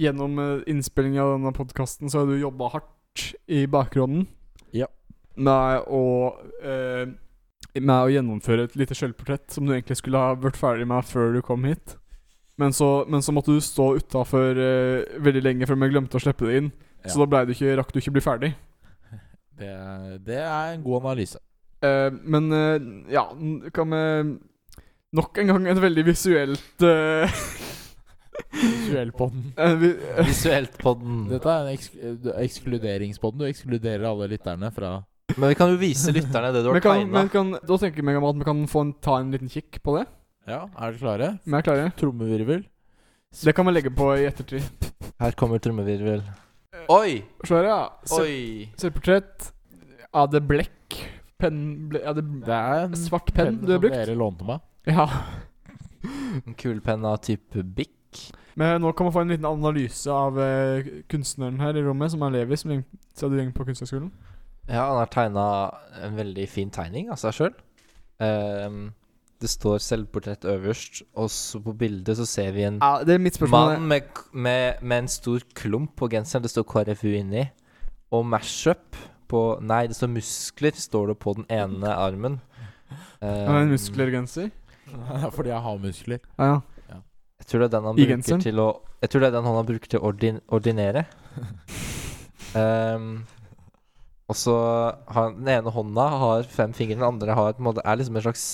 [SPEAKER 1] Gjennom eh, innspillingen av denne podkasten så har du jobba hardt i bakgrunnen.
[SPEAKER 3] Ja.
[SPEAKER 1] Med å eh, Med å gjennomføre et lite selvportrett som du egentlig skulle ha vært ferdig med før du kom hit. Men så, men så måtte du stå utafor veldig lenge før vi glemte å slippe det inn. Så
[SPEAKER 3] Ja.
[SPEAKER 1] da ble du ikke, rakk du ikke bli ferdig.
[SPEAKER 3] Det, er- det er en god analyse.
[SPEAKER 1] Eh, men eh, ja, n- kan vi Nok en gang et veldig visuelt eh, <laughs>
[SPEAKER 3] Duellpodden.
[SPEAKER 1] eh, vi, eh,
[SPEAKER 2] Visuelt på den.
[SPEAKER 3] Dette er en eks ekskluderingspodden. Du ekskluderer alle lytterne fra
[SPEAKER 2] Men vi kan jo vise lytterne det du
[SPEAKER 1] Men
[SPEAKER 2] har
[SPEAKER 1] kan,
[SPEAKER 2] tegna.
[SPEAKER 1] men kan, da tenker jeg meg om at vi kan få en, ta en liten kikk på det.
[SPEAKER 3] Ja, er dere klare?
[SPEAKER 1] Vi er klare.
[SPEAKER 3] Trommevirvel.
[SPEAKER 1] Det kan vi legge på i ettertid.
[SPEAKER 2] Her kommer trommevirvel.
[SPEAKER 1] men-
[SPEAKER 2] Oi!
[SPEAKER 1] Se her, ja. Se-
[SPEAKER 2] Oi!
[SPEAKER 1] Selvportrett. Er det blekk? penn ble, ja, det,
[SPEAKER 3] Det er en
[SPEAKER 1] Svart penn du har
[SPEAKER 3] som
[SPEAKER 1] brukt?
[SPEAKER 3] Dere lånte meg.
[SPEAKER 1] ja.
[SPEAKER 2] En Kulepenn av type Bic.
[SPEAKER 1] Men nå kan man få en liten analyse av eh, kunstneren her i rommet, som er Levi, som gjeng, sa du gjeng på Kunsthøgskolen.
[SPEAKER 2] Ja, han har tegna en veldig fin tegning av seg sjøl. det står selvportrett øverst, og så på bildet så ser vi en
[SPEAKER 1] Ja, det er mitt spørsmål.
[SPEAKER 2] mann med, k- med, med en stor klump på genseren. Det står KrFU inni. Og mashup på Nei, det står muskler, står det på den ene armen.
[SPEAKER 1] Ja, men
[SPEAKER 2] Ehm,
[SPEAKER 1] musklergenser?
[SPEAKER 3] Fordi jeg har muskler.
[SPEAKER 1] Ja, ja.
[SPEAKER 2] Jeg tror det er den han
[SPEAKER 1] I
[SPEAKER 2] bruker
[SPEAKER 1] genseren?
[SPEAKER 2] til å Jeg tror det er den han bruker til å ordin,
[SPEAKER 3] <laughs>
[SPEAKER 2] ordinere. Ehm, og så har den ene hånda har fem fingre, den andre har på en måte, er liksom en slags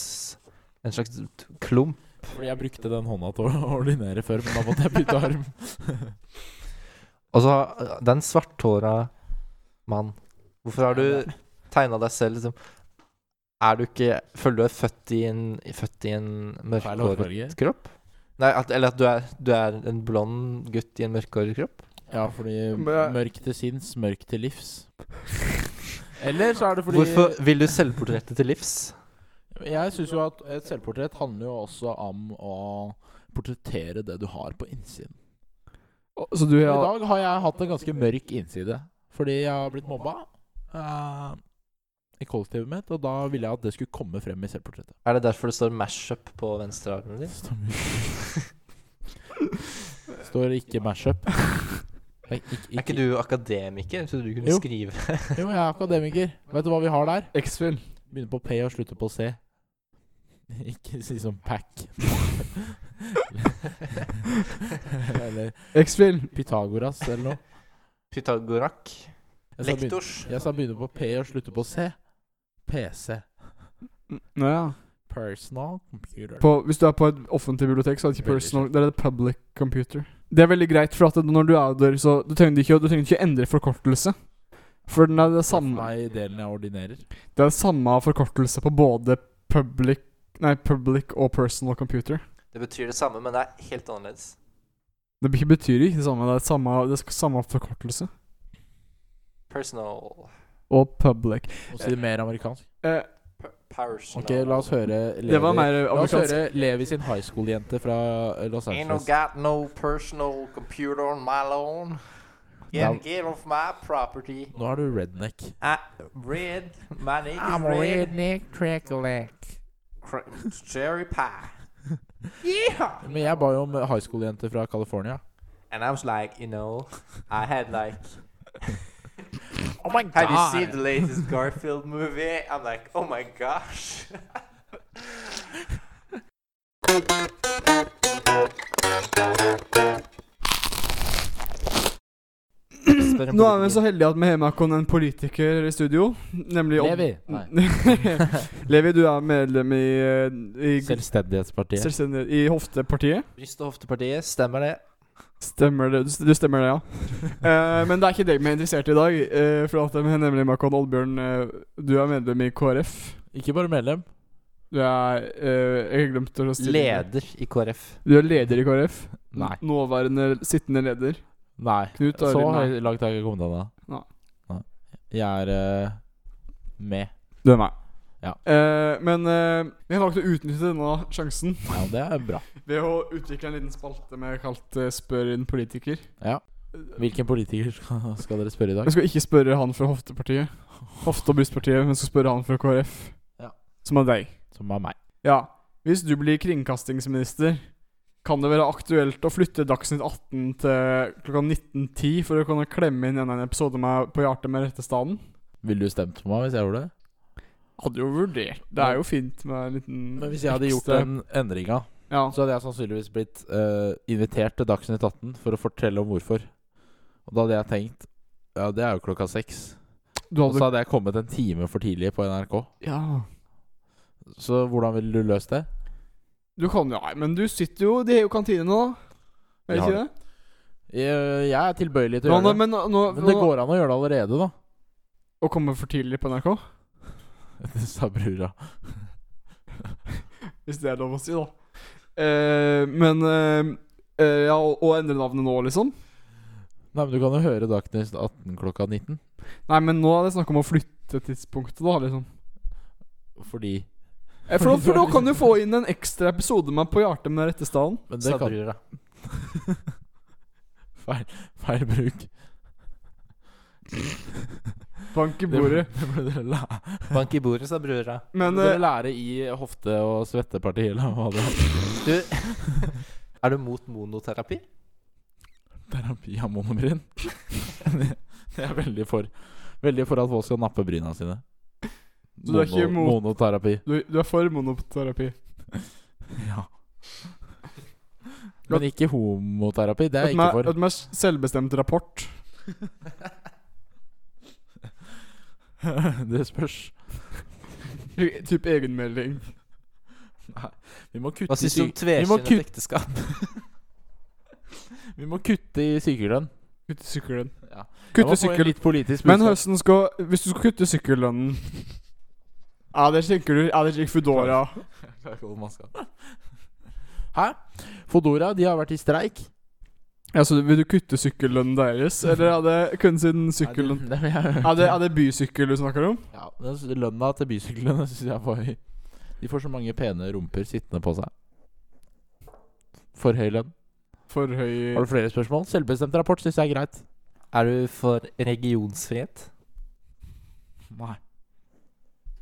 [SPEAKER 2] En slags t- klump.
[SPEAKER 3] Fordi jeg brukte den hånda til å ordinere før, men da måtte jeg bytte arm.
[SPEAKER 2] Og så har- den svarthåra mann Hvorfor har du tegna deg selv liksom Er du ikke Føler du er født i en, født i en
[SPEAKER 3] Feil
[SPEAKER 2] mørkhåret
[SPEAKER 3] hårfarge.
[SPEAKER 2] kropp? Nei, at, eller at du er, du er en blond gutt i en mørkhåret kropp?
[SPEAKER 3] Ja, fordi
[SPEAKER 1] Men jeg-
[SPEAKER 3] mørk til sinns, mørk til livs. Eller så er det fordi
[SPEAKER 2] Hvorfor vil du selvportrettet til livs?
[SPEAKER 3] Jeg syns jo at et selvportrett handler jo også om å portrettere det du har på innsiden.
[SPEAKER 1] Og- Så du
[SPEAKER 3] I
[SPEAKER 1] har
[SPEAKER 3] dag har jeg hatt en ganske mørk innside fordi jeg har blitt mobba eh, i kollektivet mitt, og da ville jeg at det skulle komme frem i selvportrettet.
[SPEAKER 2] Er det derfor det står mashup på venstre armen din?
[SPEAKER 3] Står mye- Står ikke mashup. Er
[SPEAKER 2] Er ikke du akademiker? Jeg trodde du kunne
[SPEAKER 3] Jo.
[SPEAKER 2] skrive. <laughs>
[SPEAKER 3] Jo, jeg er akademiker. Vet du hva vi har der?
[SPEAKER 1] X-Fill.
[SPEAKER 3] Begynner på P og slutter på C. Ikke si som pack.
[SPEAKER 2] <laughs>
[SPEAKER 3] eller
[SPEAKER 1] X-Fill.
[SPEAKER 3] Pythagoras eller noe.
[SPEAKER 2] Pythagorak.
[SPEAKER 3] Jeg sa begyn-
[SPEAKER 2] Lektors.
[SPEAKER 3] Jeg sa begynner på P og slutter på C. PC.
[SPEAKER 1] Nå ja.
[SPEAKER 3] Personal computer.
[SPEAKER 1] På, hvis du er på et offentlig bibliotek, så er det ikke
[SPEAKER 3] Veldig
[SPEAKER 1] personal, det er det public computer. Det er veldig greit, for at når du er der, så du trenger ikke, du trenger ikke endre forkortelse. For den er det
[SPEAKER 3] Det
[SPEAKER 1] samme,
[SPEAKER 3] er i delen jeg ordinerer.
[SPEAKER 1] det er samme forkortelse på både public, nei, public og personal computer.
[SPEAKER 2] Det betyr det samme, men det er helt annerledes.
[SPEAKER 1] Det be- betyr ikke det samme, det er samme, det er sk- samme forkortelse.
[SPEAKER 2] Personal.
[SPEAKER 1] Og public.
[SPEAKER 3] Og si det mer amerikansk.
[SPEAKER 1] Eh,
[SPEAKER 2] Per- Personal.
[SPEAKER 3] Ok, la oss høre Levi.
[SPEAKER 1] det var mer
[SPEAKER 3] La
[SPEAKER 1] <clears throat>
[SPEAKER 3] oss
[SPEAKER 1] amerikansk.
[SPEAKER 3] høre Levi sin high school-jente fra eh, Los
[SPEAKER 2] Ain't no
[SPEAKER 3] Angeles.
[SPEAKER 2] got no personal computer on my lawn.
[SPEAKER 3] Now-
[SPEAKER 2] Get, get off my property.
[SPEAKER 3] Nå er du redneck.
[SPEAKER 2] I, red. My name is Red. Cr- Cherry
[SPEAKER 3] <laughs>
[SPEAKER 2] pie. yeah.
[SPEAKER 3] Men jeg ba jo om eh, high school-jente fra California.
[SPEAKER 2] And I was like, you know, I had like
[SPEAKER 3] <laughs> Oh my
[SPEAKER 2] Have you seen the latest Garfield movie? I'm like, oh my gosh.
[SPEAKER 1] Nå er vi så heldige at vi har med oss en politiker i studio, nemlig Odd-
[SPEAKER 3] Levi. Nei.
[SPEAKER 1] <laughs> Levi, du er medlem i, eh, i
[SPEAKER 3] Selvstendighetspartiet.
[SPEAKER 1] Selvstendig i hoftepartiet.
[SPEAKER 2] Bryst- og hoftepartiet, stemmer det?
[SPEAKER 1] Stemmer det. Du, du stemmer
[SPEAKER 3] <laughs>
[SPEAKER 1] det, ja. Eh, men det er ikke deg vi er interessert i i dag. eh, for at jeg nemlig Makon Oddbjørn, eh, du er medlem i KrF.
[SPEAKER 3] Ikke bare medlem.
[SPEAKER 1] Du er eh, Jeg glemte å stille
[SPEAKER 2] Leder i KrF.
[SPEAKER 1] Du er leder i KrF.
[SPEAKER 3] Nei.
[SPEAKER 1] Nåværende sittende leder.
[SPEAKER 3] Nei.
[SPEAKER 1] Knut
[SPEAKER 3] Så
[SPEAKER 1] Arild, nei.
[SPEAKER 3] høy- langt har jeg ikke kommet ennå.
[SPEAKER 1] Nei.
[SPEAKER 3] Nei. Jeg er eh, med.
[SPEAKER 1] Du er meg.
[SPEAKER 3] Ja.
[SPEAKER 1] Eh, men eh, vi har valgt å utnytte denne sjansen
[SPEAKER 3] Ja, det er bra.
[SPEAKER 1] ved å utvikle en liten spalte vi har kalt eh, 'Spør en politiker'.
[SPEAKER 3] Ja. Hvilken politiker skal, skal dere spørre
[SPEAKER 1] Vi
[SPEAKER 3] i dag?
[SPEAKER 1] skal ikke spørre han fra hoftepartiet. Hofte- og brystpartiet, men skal spørre han fra KrF.
[SPEAKER 3] Ja.
[SPEAKER 1] Som er deg.
[SPEAKER 3] Som er meg.
[SPEAKER 1] Ja. Hvis du blir kringkastingsminister, kan det være aktuelt å flytte Dagsnytt 18 til klokka 19.10 for å kunne klemme inn enda en episode med På hjertet med rette staden?
[SPEAKER 3] Ville du stemt på meg hvis jeg gjorde det?
[SPEAKER 1] Hadde jo vurdert. Det er jo fint med en liten
[SPEAKER 3] Men hvis jeg hadde gjort
[SPEAKER 1] ekstra-
[SPEAKER 3] den endringa,
[SPEAKER 1] Ja.
[SPEAKER 3] så hadde jeg sannsynligvis blitt eh, invitert til Dagsnytt 18 for å fortelle om hvorfor. Og da hadde jeg tenkt Ja, det er jo klokka seks.
[SPEAKER 1] Du
[SPEAKER 3] Og
[SPEAKER 1] hadde
[SPEAKER 3] så hadde jeg kommet en time for tidlig på NRK.
[SPEAKER 1] Ja.
[SPEAKER 3] Så hvordan ville du løst det?
[SPEAKER 1] Du kan jo Nei, men du sitter jo De har jo kantine nå, er det
[SPEAKER 3] De har
[SPEAKER 1] ikke det?
[SPEAKER 3] Jeg, jeg er tilbøyelig til å
[SPEAKER 1] Ja, nå,
[SPEAKER 3] gjøre det.
[SPEAKER 1] men nå, nå,
[SPEAKER 3] Men det går an å gjøre det allerede, da. <laughs>
[SPEAKER 1] Å komme for tidlig på NRK?
[SPEAKER 3] Det sa brura.
[SPEAKER 1] Hvis det er lov å si, da. Eh, men eh, eh, Ja, og, og endre navnet nå, liksom?
[SPEAKER 3] Nei, men du kan jo høre Dagsnytt 18 klokka 19.
[SPEAKER 1] Nei, men nå er det snakk om å flytte tidspunktet, da, liksom.
[SPEAKER 3] Fordi
[SPEAKER 1] Eh, <laughs> For, nå- for nå kan du få inn en ekstra episode med På hjertet med Rettestaden.
[SPEAKER 3] Men det kan
[SPEAKER 2] Snabbrura.
[SPEAKER 3] <laughs> Feil, feil bruk.
[SPEAKER 1] Bank i
[SPEAKER 3] Det
[SPEAKER 1] bordet.
[SPEAKER 3] må- Det må <laughs> dere, lære.
[SPEAKER 2] Bank i bordet, sa brura.
[SPEAKER 3] Det
[SPEAKER 1] Men
[SPEAKER 3] må dere
[SPEAKER 1] eh,
[SPEAKER 3] lære i hofte- og svettepartiet, eller hva det er.
[SPEAKER 2] Du, <laughs> er du mot monoterapi?
[SPEAKER 3] Terapi av monobryn. Det det er jeg veldig for. Veldig for at folk skal nappe bryna sine.
[SPEAKER 1] Så du er ikke imot-
[SPEAKER 3] Monoterapi.
[SPEAKER 1] du, du er for monoterapi.
[SPEAKER 3] Ja. Men ikke homoterapi. Det er
[SPEAKER 1] Et
[SPEAKER 3] jeg ikke
[SPEAKER 1] mer-
[SPEAKER 3] for.
[SPEAKER 1] Et mer selvbestemt rapport.
[SPEAKER 3] <laughs> Det spørs.
[SPEAKER 1] Typ egenmelding.
[SPEAKER 3] Nei, vi må kutte
[SPEAKER 2] Hva syns du om
[SPEAKER 3] syk- vi må
[SPEAKER 2] tvekjønnet ekteskap?
[SPEAKER 3] kutte- Vi må kutte i sykelønn.
[SPEAKER 1] Kutte sykkelen.
[SPEAKER 3] Ja. Jeg må
[SPEAKER 1] Kutte
[SPEAKER 3] få inn
[SPEAKER 1] sykkel
[SPEAKER 3] Litt politisk
[SPEAKER 1] Men
[SPEAKER 3] budskap.
[SPEAKER 1] høsten skal Hvis du skal kutte sykkellønnen Ja, det tenker du Ja, det tenker Foodora.
[SPEAKER 3] Jeg klarer ikke å holde maska. Hæ? Fodora de har vært i streik.
[SPEAKER 1] Ja, så vil du kutte sykkellønnen deres? Eller er det kun siden sykkellønn
[SPEAKER 3] Nei, <laughs> det- det-
[SPEAKER 1] er det, er det bysykkel du snakker om?
[SPEAKER 3] Ja, den s- Lønna til bysyklene syns jeg var høy. De får så mange pene rumper sittende på seg. For høy lønn.
[SPEAKER 1] For høy
[SPEAKER 3] Har du flere spørsmål? Selvbestemt rapport syns jeg er greit.
[SPEAKER 2] Er du for regionsfrihet?
[SPEAKER 3] Nei.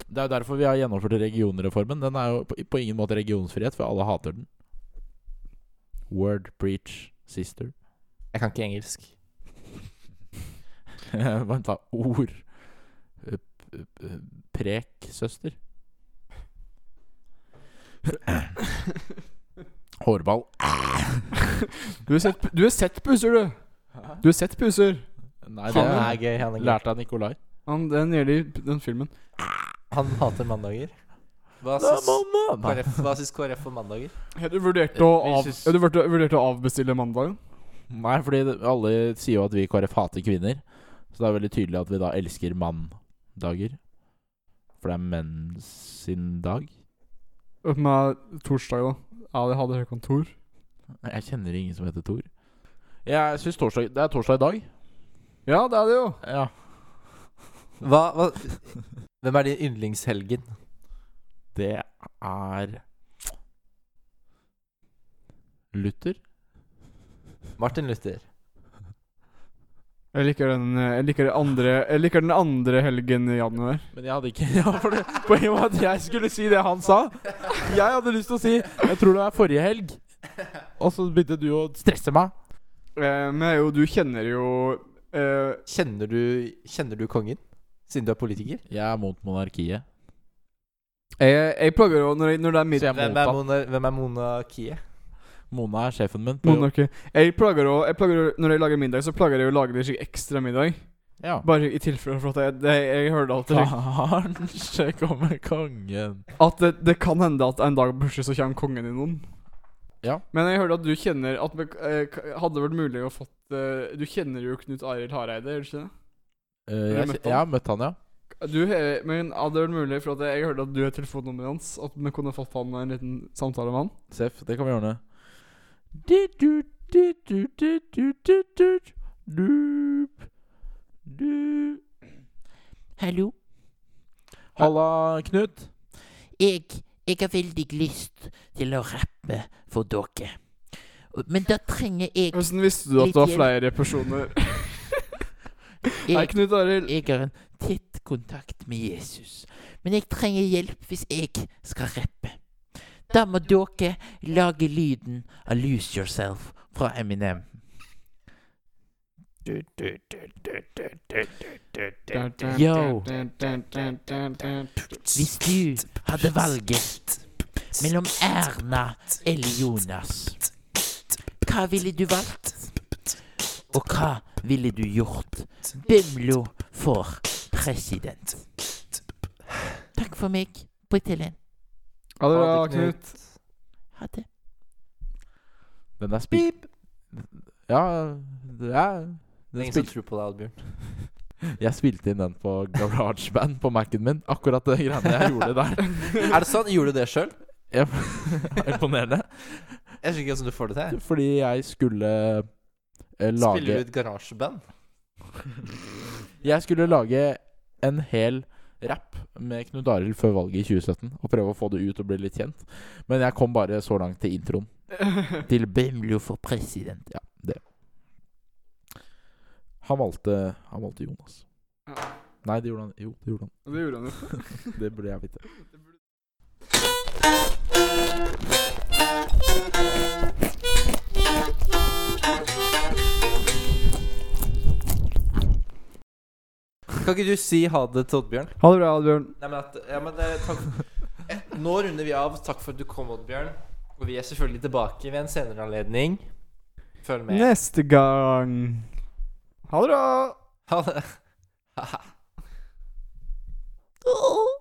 [SPEAKER 3] Det er jo derfor vi har gjennomført regionreformen. Den er jo på, på ingen måte regionsfrihet, for alle hater den. Word preach sister.
[SPEAKER 2] Jeg kan ikke engelsk.
[SPEAKER 3] <laughs> Vent, da. Ord. Eh, p- p- Prek søster. <coughs> Hårball.
[SPEAKER 1] Du har sett, du har sett puser, du! Du har sett puser!
[SPEAKER 3] Nei,
[SPEAKER 2] Han
[SPEAKER 3] det
[SPEAKER 2] er
[SPEAKER 3] er
[SPEAKER 2] gøy. Han, er gøy.
[SPEAKER 3] lærte av Nikolai.
[SPEAKER 1] Han, den gjør det i den filmen.
[SPEAKER 2] han hater mandager. Hva
[SPEAKER 3] Nei,
[SPEAKER 2] syns
[SPEAKER 3] mamma! Nei.
[SPEAKER 2] KrF, hva syns KrF om mandager?
[SPEAKER 1] Har du vurdert å,
[SPEAKER 3] Vi
[SPEAKER 1] av,
[SPEAKER 3] syns-
[SPEAKER 1] har du vurdert å- vurdert å avbestille mandagen?
[SPEAKER 3] Nei, fordi det- alle sier jo at vi i KrF hater kvinner. Så det er veldig tydelig at vi da elsker mandager. For det er menn sin dag.
[SPEAKER 1] Opp Med torsdag, da. Ja, det hadde jeg kontor.
[SPEAKER 3] Jeg kjenner ingen som heter Tor. Jeg synes torsdag Det er torsdag i dag.
[SPEAKER 1] Ja, det er det jo.
[SPEAKER 3] Ja.
[SPEAKER 2] Hva, hva, hvem er din yndlingshelgen?
[SPEAKER 3] Det er Luther?
[SPEAKER 2] Martin Luther.
[SPEAKER 1] Jeg liker den, eh, jeg liker den andre Jeg liker den andre helgen i januar.
[SPEAKER 3] Men jeg hadde ikke <laughs> Ja, for det, Poenget var at jeg skulle si det han sa. Jeg hadde lyst til å si 'Jeg tror det er forrige helg'. Og så begynte du å stresse meg.
[SPEAKER 1] Eh, men jeg er jo, du kjenner jo eh,
[SPEAKER 2] Kjenner du, kjenner du kongen? Siden du er politiker?
[SPEAKER 3] Jeg er mot monarkiet.
[SPEAKER 1] jeg, jeg plager jo når, jeg- når det er midt
[SPEAKER 3] Så jeg er
[SPEAKER 2] Hvem er,
[SPEAKER 3] mot han.
[SPEAKER 2] mono, hvem er monarkiet?
[SPEAKER 3] Mona er sjefen min. På jobb.
[SPEAKER 1] Monarki. Jeg plager å, jeg plager å Når jeg lager middag, så plager jeg å lage det skikkelig ekstra middag.
[SPEAKER 3] Ja.
[SPEAKER 1] Bare i tilfelle for at jeg, det, jeg hørte alltid lik-
[SPEAKER 3] <laughs> Kanskje kommer kongen. Eh,
[SPEAKER 1] at det, det kan hende at en dag plutselig så kommer kongen innom.
[SPEAKER 3] Ja.
[SPEAKER 1] Men jeg hørte at du kjenner at vi- eh, k- Hadde det vært mulig å fått eh, Du kjenner jo Knut Arild Hareide, gjør du ikke det? Har du
[SPEAKER 3] Eh, jeg,
[SPEAKER 1] møtt han?
[SPEAKER 3] jeg har møtt han, ja.
[SPEAKER 1] Du, eh, men hadde det vært mulig, for at jeg hørte at du har telefonnummeret hans, at vi kunne fått han en liten samtale med han?
[SPEAKER 3] Seff, det kan vi ordne. Du-du, du-du, du-du, du-du, du. Du.
[SPEAKER 6] Hallo.
[SPEAKER 3] Halla, Knut.
[SPEAKER 6] Jeg, jeg har veldig lyst til å rappe for dere. Og- Men da trenger jeg
[SPEAKER 1] Hvordan visste du at
[SPEAKER 6] Litt
[SPEAKER 1] det var
[SPEAKER 6] hjelp.
[SPEAKER 1] flere personer? Nei,
[SPEAKER 6] Jeg,
[SPEAKER 1] Knut Arild.
[SPEAKER 6] jeg har en tett kontakt med Jesus. Men jeg trenger hjelp hvis jeg skal rappe. Da må dere lage lyden av 'Lose Yourself' fra Eminem. Yo. Hvis du hadde valget mellom Erna eller Jonas, hva ville du valgt? Og hva ville du gjort? Bømlo for president. Takk for meg. På Telen.
[SPEAKER 1] Ha det bra,
[SPEAKER 2] Ha det, Knut.
[SPEAKER 1] Knut.
[SPEAKER 6] Ha det.
[SPEAKER 3] Den er spik... Ja, det er
[SPEAKER 2] Det er
[SPEAKER 3] den
[SPEAKER 2] ingen som
[SPEAKER 3] spil-
[SPEAKER 2] tror på deg, Oddbjørn.
[SPEAKER 3] Jeg spilte inn den på GarageBand på Mac-en min. Akkurat det greiene jeg gjorde der.
[SPEAKER 2] <laughs> <laughs> Er det sånn? Gjorde du det sjøl?
[SPEAKER 3] Jeg- <laughs> Imponerende.
[SPEAKER 2] Jeg skjønner ikke hvordan du får det til.
[SPEAKER 3] Fordi jeg skulle eh,
[SPEAKER 2] Spiller
[SPEAKER 3] lage
[SPEAKER 2] du et garasjeband?
[SPEAKER 3] Jeg skulle lage en hel rap med Knut Arild før valget i 2017 og prøve å få det ut og bli litt kjent. Men jeg kom bare så langt til introen.
[SPEAKER 6] Til Bimlo for president.
[SPEAKER 3] Ja, det. Han valgte, han valgte Jonas.
[SPEAKER 1] Ja.
[SPEAKER 3] Nei, det gjorde han. Jo, det gjorde han.
[SPEAKER 1] Og <laughs> det gjorde han jo.
[SPEAKER 3] Det burde jeg vite.
[SPEAKER 2] Kan ikke du si ha det til Oddbjørn?
[SPEAKER 1] Ha det bra, Adbjørn.
[SPEAKER 2] Nei, men, at, ja, men eh, takk. Eh, Nå runder vi av. Takk for at du kom, Oddbjørn. Og vi er selvfølgelig tilbake ved en senere anledning. Følg med.
[SPEAKER 1] Neste gang. Ha det bra.
[SPEAKER 2] Ha det.
[SPEAKER 6] Oh.